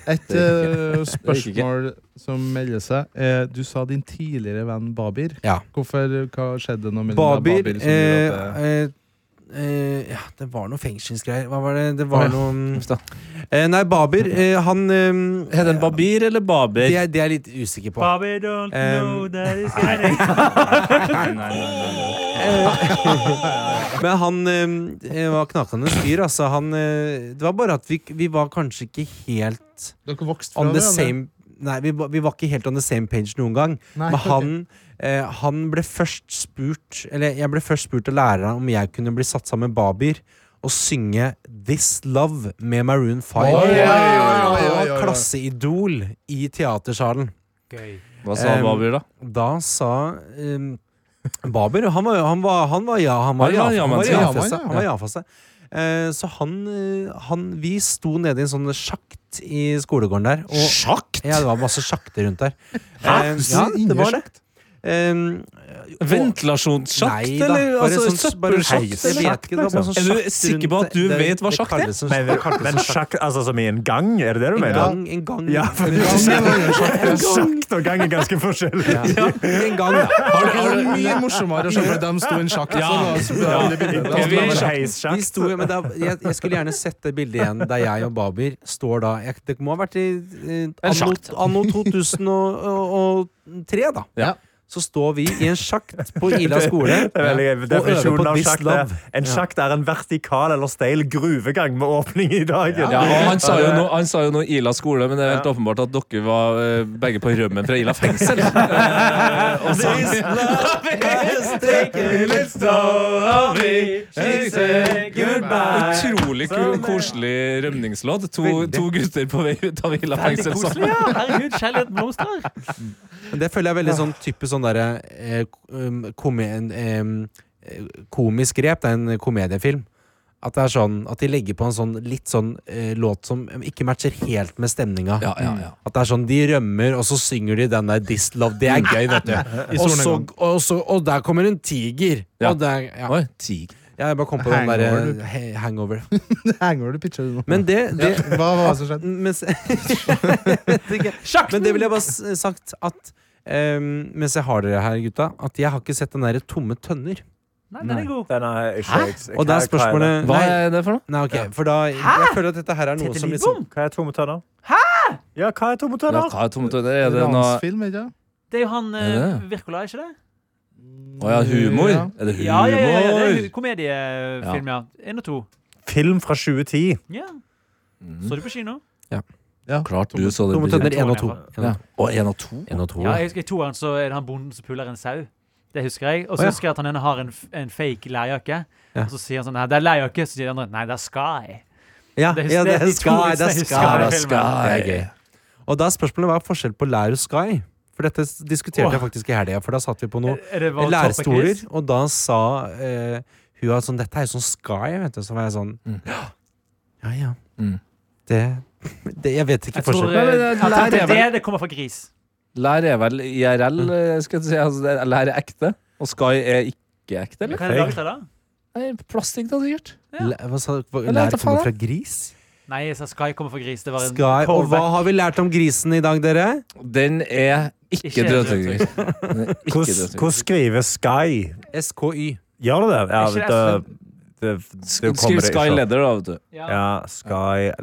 Speaker 3: Et eh,
Speaker 2: gikk ikke.
Speaker 3: spørsmål som melder seg. Eh, du sa din tidligere venn Babir.
Speaker 4: Ja.
Speaker 3: Hvorfor, hva skjedde nå med
Speaker 4: Babir,
Speaker 3: Babir som
Speaker 4: eh,
Speaker 3: gjorde at det-
Speaker 4: eh, eh, Ja, det var noe fengselsgreier. Hva var det? Det var
Speaker 3: Å, ja.
Speaker 4: noe eh, Nei, Babir, eh, han eh,
Speaker 2: Heter den Babir eller Baber?
Speaker 4: det, er, det er jeg litt usikker på.
Speaker 6: Bobby don't know
Speaker 4: Um,
Speaker 6: that it's (laughs) getting
Speaker 4: Men han eh, var knakende fyr. Altså, han, eh, det var bare at vi, vi var kanskje ikke helt
Speaker 3: Dere vokste fra
Speaker 4: on the
Speaker 3: hverandre?
Speaker 4: same Nei, vi, var- vi var ikke helt on the same page noen gang.
Speaker 3: Nei,
Speaker 4: Men
Speaker 3: ok.
Speaker 4: han, eh, han ble først spurt Eller jeg ble først spurt av læreren om jeg kunne bli satt sammen med Babir og synge This Love med Maroon 5.
Speaker 3: Oi, oi, oi, oi, oi,
Speaker 4: Han
Speaker 3: oi,
Speaker 4: var
Speaker 3: oi.
Speaker 4: klasseidol i teatersalen.
Speaker 6: gøy.
Speaker 2: Hva sa
Speaker 4: Em,
Speaker 2: Baber, da?
Speaker 4: Da sa um, Baber Han var, han var, han var ja, han var
Speaker 2: Han
Speaker 4: ja,
Speaker 2: var ja,
Speaker 4: han
Speaker 2: men
Speaker 4: var
Speaker 2: sier
Speaker 3: ja,
Speaker 4: ja-feste.
Speaker 3: ja.
Speaker 4: Han var ja-feste. Eh, så han, eh, han Vi sto nede i en sånn sjakt i skolegården der. Og,
Speaker 2: Sjakt?
Speaker 4: Ja, det var masse sjakter rundt der. Eh, ja, det var det. Um,
Speaker 2: Ventilasjonssjakt, eller? Altså,
Speaker 6: sånn
Speaker 4: sånn
Speaker 2: søppelsjakt? eller? liksom. Er du sikker på at du vet hva sjakt er?
Speaker 7: Men, men sjakk, altså som i en gang, er det det du
Speaker 4: En
Speaker 7: mener?
Speaker 4: gang, en gang.
Speaker 7: Ja, for
Speaker 3: Ja, men det var jo sjakk.
Speaker 7: Sjakt og gang er ganske forskjellig.
Speaker 4: En gang, da.
Speaker 3: Har du- har du- Mye morsommere å se for dem sto i en sjakk. så da- så da-
Speaker 7: Det
Speaker 3: da-
Speaker 7: var vel
Speaker 3: da-
Speaker 4: Vi
Speaker 7: heissjakt.
Speaker 4: sto, men da, jeg, jeg skulle gjerne sett det bildet igjen der jeg og Babir står da jeg, Det må ha vært i eh, anno,
Speaker 2: sjakt.
Speaker 4: anno 2003, da.
Speaker 2: Ja.
Speaker 4: Så står vi i en sjakt på Ila skole
Speaker 7: (laughs) Det er veldig gøy. Definisjonen av
Speaker 4: This
Speaker 7: sjakt er
Speaker 4: Love.
Speaker 7: En sjakt er en vertikal eller steil gruvegang med åpning i dagen.
Speaker 2: Ja, og han, sa jo noe, han sa jo noe Ila skole, men det er helt åpenbart at dere var eh, begge på rømmen fra Ila
Speaker 6: (laughs)
Speaker 2: fengsel. Eh,
Speaker 4: (laughs)
Speaker 2: og så- Utrolig
Speaker 6: Sånn,
Speaker 2: kul, koselig rømningslåt. To, to gutter på vei ut av Ila
Speaker 6: Veldig
Speaker 2: fengsel
Speaker 6: koselig,
Speaker 2: sammen.
Speaker 6: ja. Herregud, kjærligheten blomstrer.
Speaker 4: Men det føler jeg er veldig sånn typisk sånn derre eh, um, komi- en, em, eh, Komisk grep. Det er en komediefilm. At det er sånn At de legger på en sånn litt sånn eh, låt som ikke matcher helt med stemninga.
Speaker 2: Ja, ja, ja.
Speaker 4: At det er sånn, De rømmer, og så synger de den der 'This Love'. Det er
Speaker 2: Mm.
Speaker 4: gøy, vet du. Og, så, og, så, og der kommer en tiger.
Speaker 2: Ja.
Speaker 4: Og der, ja.
Speaker 2: Oi, tig.
Speaker 4: Jeg bare kom på den
Speaker 3: Hangover,
Speaker 4: der eh,
Speaker 3: du.
Speaker 4: he- hangover.
Speaker 3: Hangover du pitcher nå.
Speaker 4: Men det, det
Speaker 3: Ja, Hva var det som skjedde?
Speaker 4: mens, (laughs) Men det vil jeg bare s- sagt at ehm, mens jeg har dere her, gutta, at jeg har ikke sett den derre tomme tønner.
Speaker 6: Nei, den er god.
Speaker 7: Den er ikke
Speaker 4: Og det er spørsmålet
Speaker 2: Hva
Speaker 4: Nei,
Speaker 2: er det for noe?
Speaker 4: nei ok, for da Jeg føler at dette her er noe
Speaker 6: Tete
Speaker 4: som liksom
Speaker 6: Lidbom?
Speaker 7: Hva er tomme tønner? Hæ?! Ja, hva er tomme
Speaker 2: Ja,
Speaker 7: tønner?
Speaker 2: hva er tomme tønner? (laughs) Er det noe
Speaker 3: Ransfilm, ikke sant?
Speaker 6: Det er jo han eh,
Speaker 2: Er det?
Speaker 6: Wirkola, er ikke det?
Speaker 2: Å ja, humor?
Speaker 3: Ja.
Speaker 2: Er det humor?
Speaker 6: Ja, ja, ja, ja, det er en komediefilm, ja. Én og to.
Speaker 7: Film fra 2010.
Speaker 6: Ja. Så du på kino?
Speaker 2: Klart du så det.
Speaker 4: Tomme tønner
Speaker 2: Birgit.
Speaker 4: én og to.
Speaker 2: Ja. Og én og to?
Speaker 4: En og to.
Speaker 6: Ja, jeg husker I toeren så er det han bonden som puler en sau. Det husker jeg.
Speaker 4: Å,
Speaker 6: Og så
Speaker 4: ja.
Speaker 6: husker jeg at han ene har en, f- en fake leirjakke.
Speaker 4: Ja.
Speaker 6: Og så sier han sånn Nei, det er leirjakke. Så sier de andre nei, det er Sky.
Speaker 4: Ja,
Speaker 6: Det er-
Speaker 4: ja, det
Speaker 6: det er
Speaker 4: er
Speaker 6: de to
Speaker 4: Sky. Det er
Speaker 6: jeg husker.
Speaker 4: Sky.
Speaker 2: Ja, da
Speaker 6: filmen.
Speaker 2: skal
Speaker 4: Det
Speaker 2: jeg.
Speaker 4: er gøy. Og da er spørsmålet hva er forskjell på lær og sky? For dette s- diskuterte
Speaker 6: Åh.
Speaker 4: jeg faktisk i helga, for da satt vi på noe
Speaker 6: Er det bare
Speaker 4: lærstoler,
Speaker 6: toppekris?
Speaker 4: og da sa eh, hun at sånn, dette er jo sånn sky, vet du. Så var jeg sånn
Speaker 2: Mm.
Speaker 4: Ja ja.
Speaker 2: Mm.
Speaker 4: Det, det Jeg vet ikke
Speaker 6: Jeg tror
Speaker 4: forskjell.
Speaker 6: eh,
Speaker 2: Nei, men det er
Speaker 6: at
Speaker 2: lær-
Speaker 6: det, er det det kommer fra gris.
Speaker 2: Lær er vel IRL, eh, skal jeg si. Altså, det er- lær er ekte. Og Sky er ikke ekte, eller?
Speaker 6: Hva er det laget av da?
Speaker 2: Nei, plastikk, da, sikkert.
Speaker 6: Ja.
Speaker 4: Læ- Hva sa hva-
Speaker 2: Eller
Speaker 4: Lær
Speaker 2: hva
Speaker 4: kommer
Speaker 2: faen?
Speaker 4: fra gris?
Speaker 6: Nei, jeg sa Sky kommer fra gris. Det var en
Speaker 4: Sky. Og hva
Speaker 6: callback.
Speaker 4: har vi lært om grisen i dag, dere?
Speaker 2: Den er ikke
Speaker 6: Ikke
Speaker 2: drøvtygger. Den er ikke
Speaker 7: Hvordan
Speaker 2: drøvtygger.
Speaker 7: hvordan skrives Sky?
Speaker 4: SKY.
Speaker 7: Gjør det det? Ja,
Speaker 6: Ikke
Speaker 7: det, det, det
Speaker 2: Skriv
Speaker 7: kommer det ikke
Speaker 2: Sky
Speaker 7: opp.
Speaker 2: Leather, da, vet du.
Speaker 6: Ja.
Speaker 7: Ja, Sky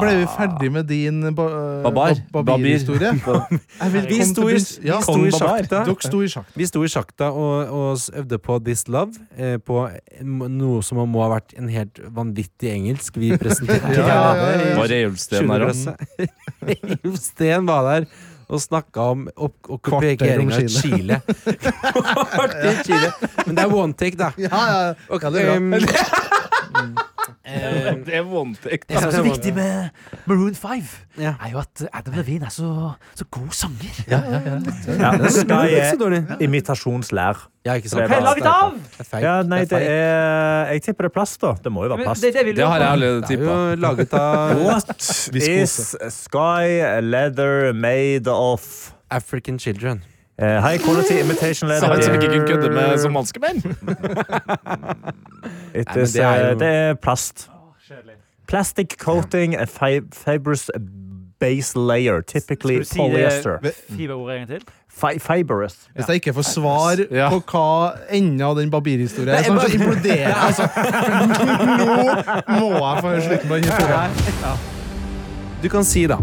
Speaker 3: Men ble vi ferdig med din ba eh,
Speaker 2: Babar.
Speaker 3: (laughs) babir-historie?
Speaker 2: Babir.
Speaker 3: Jeg
Speaker 2: (laughs)
Speaker 3: vil
Speaker 4: Vi
Speaker 3: komme
Speaker 4: sto
Speaker 3: til
Speaker 4: i,
Speaker 3: bunns- ja,
Speaker 4: vi sto i sjakta.
Speaker 3: Dere sto i sjakta.
Speaker 4: Vi sto i sjakta og, og s- øvde på This Love, eh, på m- noe som må ha vært en helt vanvittig engelsk. Vi presenterte
Speaker 3: Ja, ja, ja, ja.
Speaker 2: Var Reiulfsten her, da?
Speaker 4: (laughs) Jo Steen var der og snakka om opp- okkupering av Chile. Kvarter om Chile. Men det er one take, da. um,
Speaker 3: Ja, ja, ja, det er bra.
Speaker 4: Em, em,
Speaker 2: Det er voldtekt.
Speaker 6: Det som er så viktig med Maroon 5,
Speaker 4: ja.
Speaker 6: er jo at Adam Levine er så, så god sanger.
Speaker 7: Ja,
Speaker 4: Ikke så
Speaker 7: Sky er
Speaker 4: dårlig.
Speaker 7: imitasjonslær.
Speaker 4: Ja, ikke
Speaker 7: Det
Speaker 4: sant?
Speaker 7: er
Speaker 6: Hva er laget av?
Speaker 4: Det er feil.
Speaker 7: Ja, nei, det
Speaker 4: feil.
Speaker 7: er Jeg tipper det er plast, da. Det må jo være
Speaker 6: Men
Speaker 7: plast.
Speaker 6: Det, det vil
Speaker 2: Det har jeg allerede
Speaker 4: Det er
Speaker 2: tippa.
Speaker 4: jo laget av
Speaker 7: What is Sky Leather made of?
Speaker 4: African Children.
Speaker 7: Eh, high quality imitation leather.
Speaker 2: hanskebær.
Speaker 7: It
Speaker 4: Nei, men
Speaker 7: is,
Speaker 4: det er
Speaker 7: eh,
Speaker 4: jo-
Speaker 7: det er plast.
Speaker 6: Kjedelig.
Speaker 7: Plastic coating, a fi fibrous base layer, typically
Speaker 6: Skal du si eh, det-
Speaker 7: polyester.
Speaker 6: Fiberordet en gang til.
Speaker 7: Fi fibrous.
Speaker 3: Hvis jeg ikke får svar
Speaker 2: Ja.
Speaker 3: på hva enden av den babirhistorien er,
Speaker 4: Nei,
Speaker 3: sånn, så
Speaker 4: bare-
Speaker 3: imploderer jeg. Altså. Nå må jeg få slutten på den historien.
Speaker 4: Du kan si, da,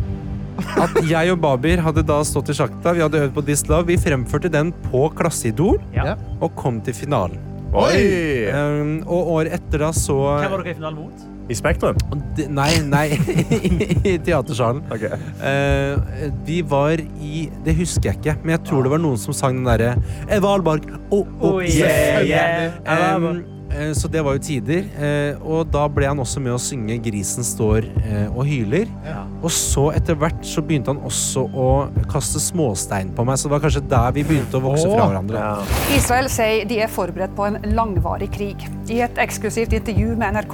Speaker 4: at jeg og Babir hadde da stått i sjakta. Vi hadde øvd på This Love. Vi fremførte den på Klasseidol
Speaker 6: Ja.
Speaker 3: Ja.
Speaker 4: og kom til finalen.
Speaker 7: Oi!
Speaker 4: Em, og året etter da så
Speaker 6: Hvem var dere i finalen mot?
Speaker 7: Eh, I Spektrum?
Speaker 4: De- Nei, nei. (laughs) I teatersalen.
Speaker 7: Ok.
Speaker 4: Eh, vi var i Det husker jeg ikke, men jeg tror det var noen som sang den derre Eva Albarg. Oh, oh,
Speaker 6: (laughs)
Speaker 4: yeah, yeah. Em, eh, så det var jo tider. eh, og da ble han også med å synge 'Grisen står eh, og hyler'. Og så etter hvert så begynte han også å kaste småstein på meg, så det var kanskje der vi begynte å vokse fra hverandre.
Speaker 7: Ja.
Speaker 8: Israel sier de er forberedt på en langvarig krig. I et eksklusivt intervju med NRK (clears throat)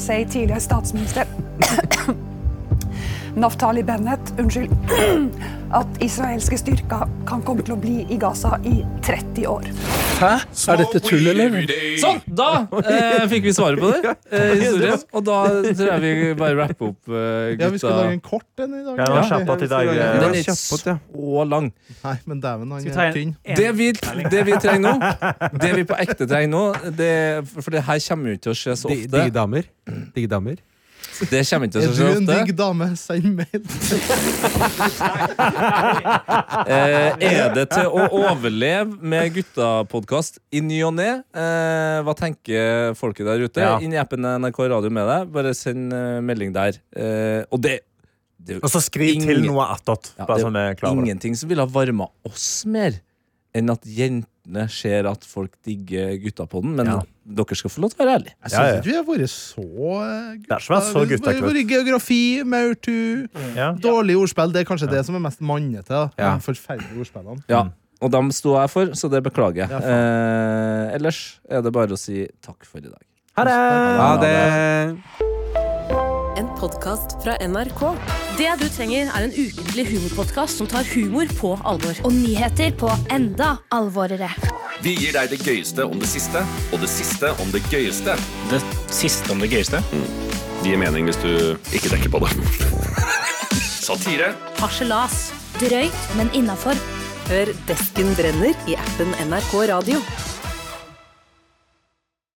Speaker 8: sier tidligere statsminister (clears throat) Naftali Bennett unnskyld, (clears throat) at israelske styrker kan komme til å bli i Gaza i 30 år.
Speaker 5: Hæ? Er dette tull, eller?
Speaker 2: Sånn, da eh, fikk vi svaret på det. Eh, historien. Og da tror jeg vi bare rapper opp, eh,
Speaker 3: Ja, vi skulle
Speaker 2: gutta.
Speaker 3: lage en kort en i dag.
Speaker 7: Ja, det var
Speaker 3: egentlig.
Speaker 7: kjapt at i dag,
Speaker 2: Den
Speaker 7: eh,
Speaker 4: Den
Speaker 2: er
Speaker 4: er
Speaker 2: ikke
Speaker 4: kjappåt, ja.
Speaker 2: så lang.
Speaker 3: Nei, men dæven, han
Speaker 6: Skal vi ta
Speaker 3: er
Speaker 6: en-
Speaker 3: tynn.
Speaker 6: en-
Speaker 2: Det vi, det vi trenger nå, det vi på ekte trenger nå det, For det her kommer jo ikke til å skje så
Speaker 4: Di- Digge
Speaker 2: ofte.
Speaker 4: damer. Digge damer.
Speaker 2: Det kommer ikke til
Speaker 3: Er
Speaker 2: å
Speaker 3: du
Speaker 2: skje
Speaker 3: en
Speaker 2: så
Speaker 3: digg
Speaker 2: ofte.
Speaker 3: dame? Send mail.
Speaker 2: Eh, er det til å overleve med guttapodkast i ny og ne? Eh, hva tenker folket der ute?
Speaker 7: Ja.
Speaker 2: Inn i appen NRK Radio med deg. Bare send eh, melding der. Eh, og det, det er jo
Speaker 7: Og så skriv
Speaker 2: Ingen-
Speaker 7: til noe attåt.
Speaker 2: Ja,
Speaker 7: bare
Speaker 2: det
Speaker 7: sånn vi er klar over det.
Speaker 2: ingenting som ville ha varma oss mer enn at jentene ser at folk digger gutta på den. Men
Speaker 7: Ja.
Speaker 2: dere skal få lov til å være ærlige.
Speaker 3: Jeg
Speaker 7: Ja, ja.
Speaker 3: syns ikke vi har vært så eh,
Speaker 7: Det har ikke vært så
Speaker 3: Vi har
Speaker 7: guttaklutt.
Speaker 3: vært geografi, maurtue,
Speaker 7: Ja.
Speaker 3: dårlig ordspill. Det er kanskje det som er mest mannete. da.
Speaker 4: Ja.
Speaker 3: De forferdelige ordspillene.
Speaker 2: Ja,
Speaker 7: Mm.
Speaker 2: og dem sto jeg for, så det beklager jeg.
Speaker 3: Ja,
Speaker 2: eh, ellers er det bare å si takk for i dag.
Speaker 7: Ha det!
Speaker 4: Ha det.
Speaker 9: En podkast fra NRK. Det du trenger, er en ukentlig humorpodkast som tar humor på alvor.
Speaker 10: og nyheter på enda alvorere.
Speaker 2: Vi gir deg det gøyeste om det siste, og det siste om det gøyeste.
Speaker 11: Det siste om det gøyeste.
Speaker 2: Det gir mening hvis du ikke tenker på det. Satire.
Speaker 8: Harselas.
Speaker 9: Drøyt, men innafor.
Speaker 8: Hør Desken brenner i appen NRK Radio.